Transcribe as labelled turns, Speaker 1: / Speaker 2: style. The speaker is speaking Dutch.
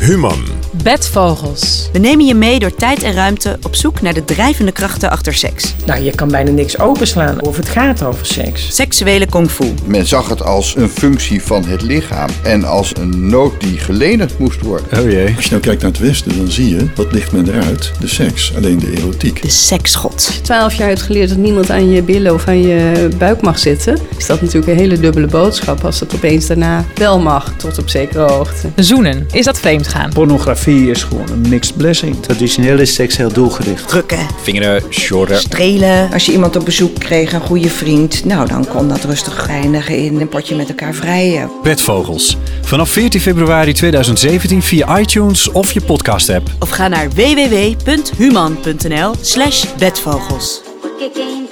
Speaker 1: Human.
Speaker 2: Bedvogels.
Speaker 3: We nemen je mee door tijd en ruimte op zoek naar de drijvende krachten achter seks.
Speaker 4: Nou, je kan bijna niks openslaan of het gaat over seks.
Speaker 3: Seksuele kung fu.
Speaker 5: Men zag het als een functie van het lichaam en als een nood die gelenigd moest worden.
Speaker 1: Oh jee.
Speaker 6: Als je nou kijkt naar het Westen, dan zie je, wat ligt men eruit? De seks, alleen de erotiek.
Speaker 3: De seksgod.
Speaker 7: Twaalf jaar hebt geleerd dat niemand aan je billen of aan je buik mag zitten. Is dat natuurlijk een hele dubbele boodschap als dat opeens daarna wel mag, tot op zekere hoogte.
Speaker 2: Zoenen. Is dat vreemd gaan?
Speaker 8: Pornografie is gewoon een mixed blessing. Traditioneel is seks heel doelgericht.
Speaker 3: Drukken.
Speaker 1: Vingeren, sjorren.
Speaker 3: Strelen.
Speaker 9: Als je iemand op bezoek kreeg, een goede vriend, nou dan kon dat rustig eindigen in een potje met elkaar vrijen.
Speaker 1: Bedvogels. Vanaf 14 februari 2017 via iTunes of je podcast-app.
Speaker 3: Of ga naar www.human.nl slash bedvogels.
Speaker 10: Again.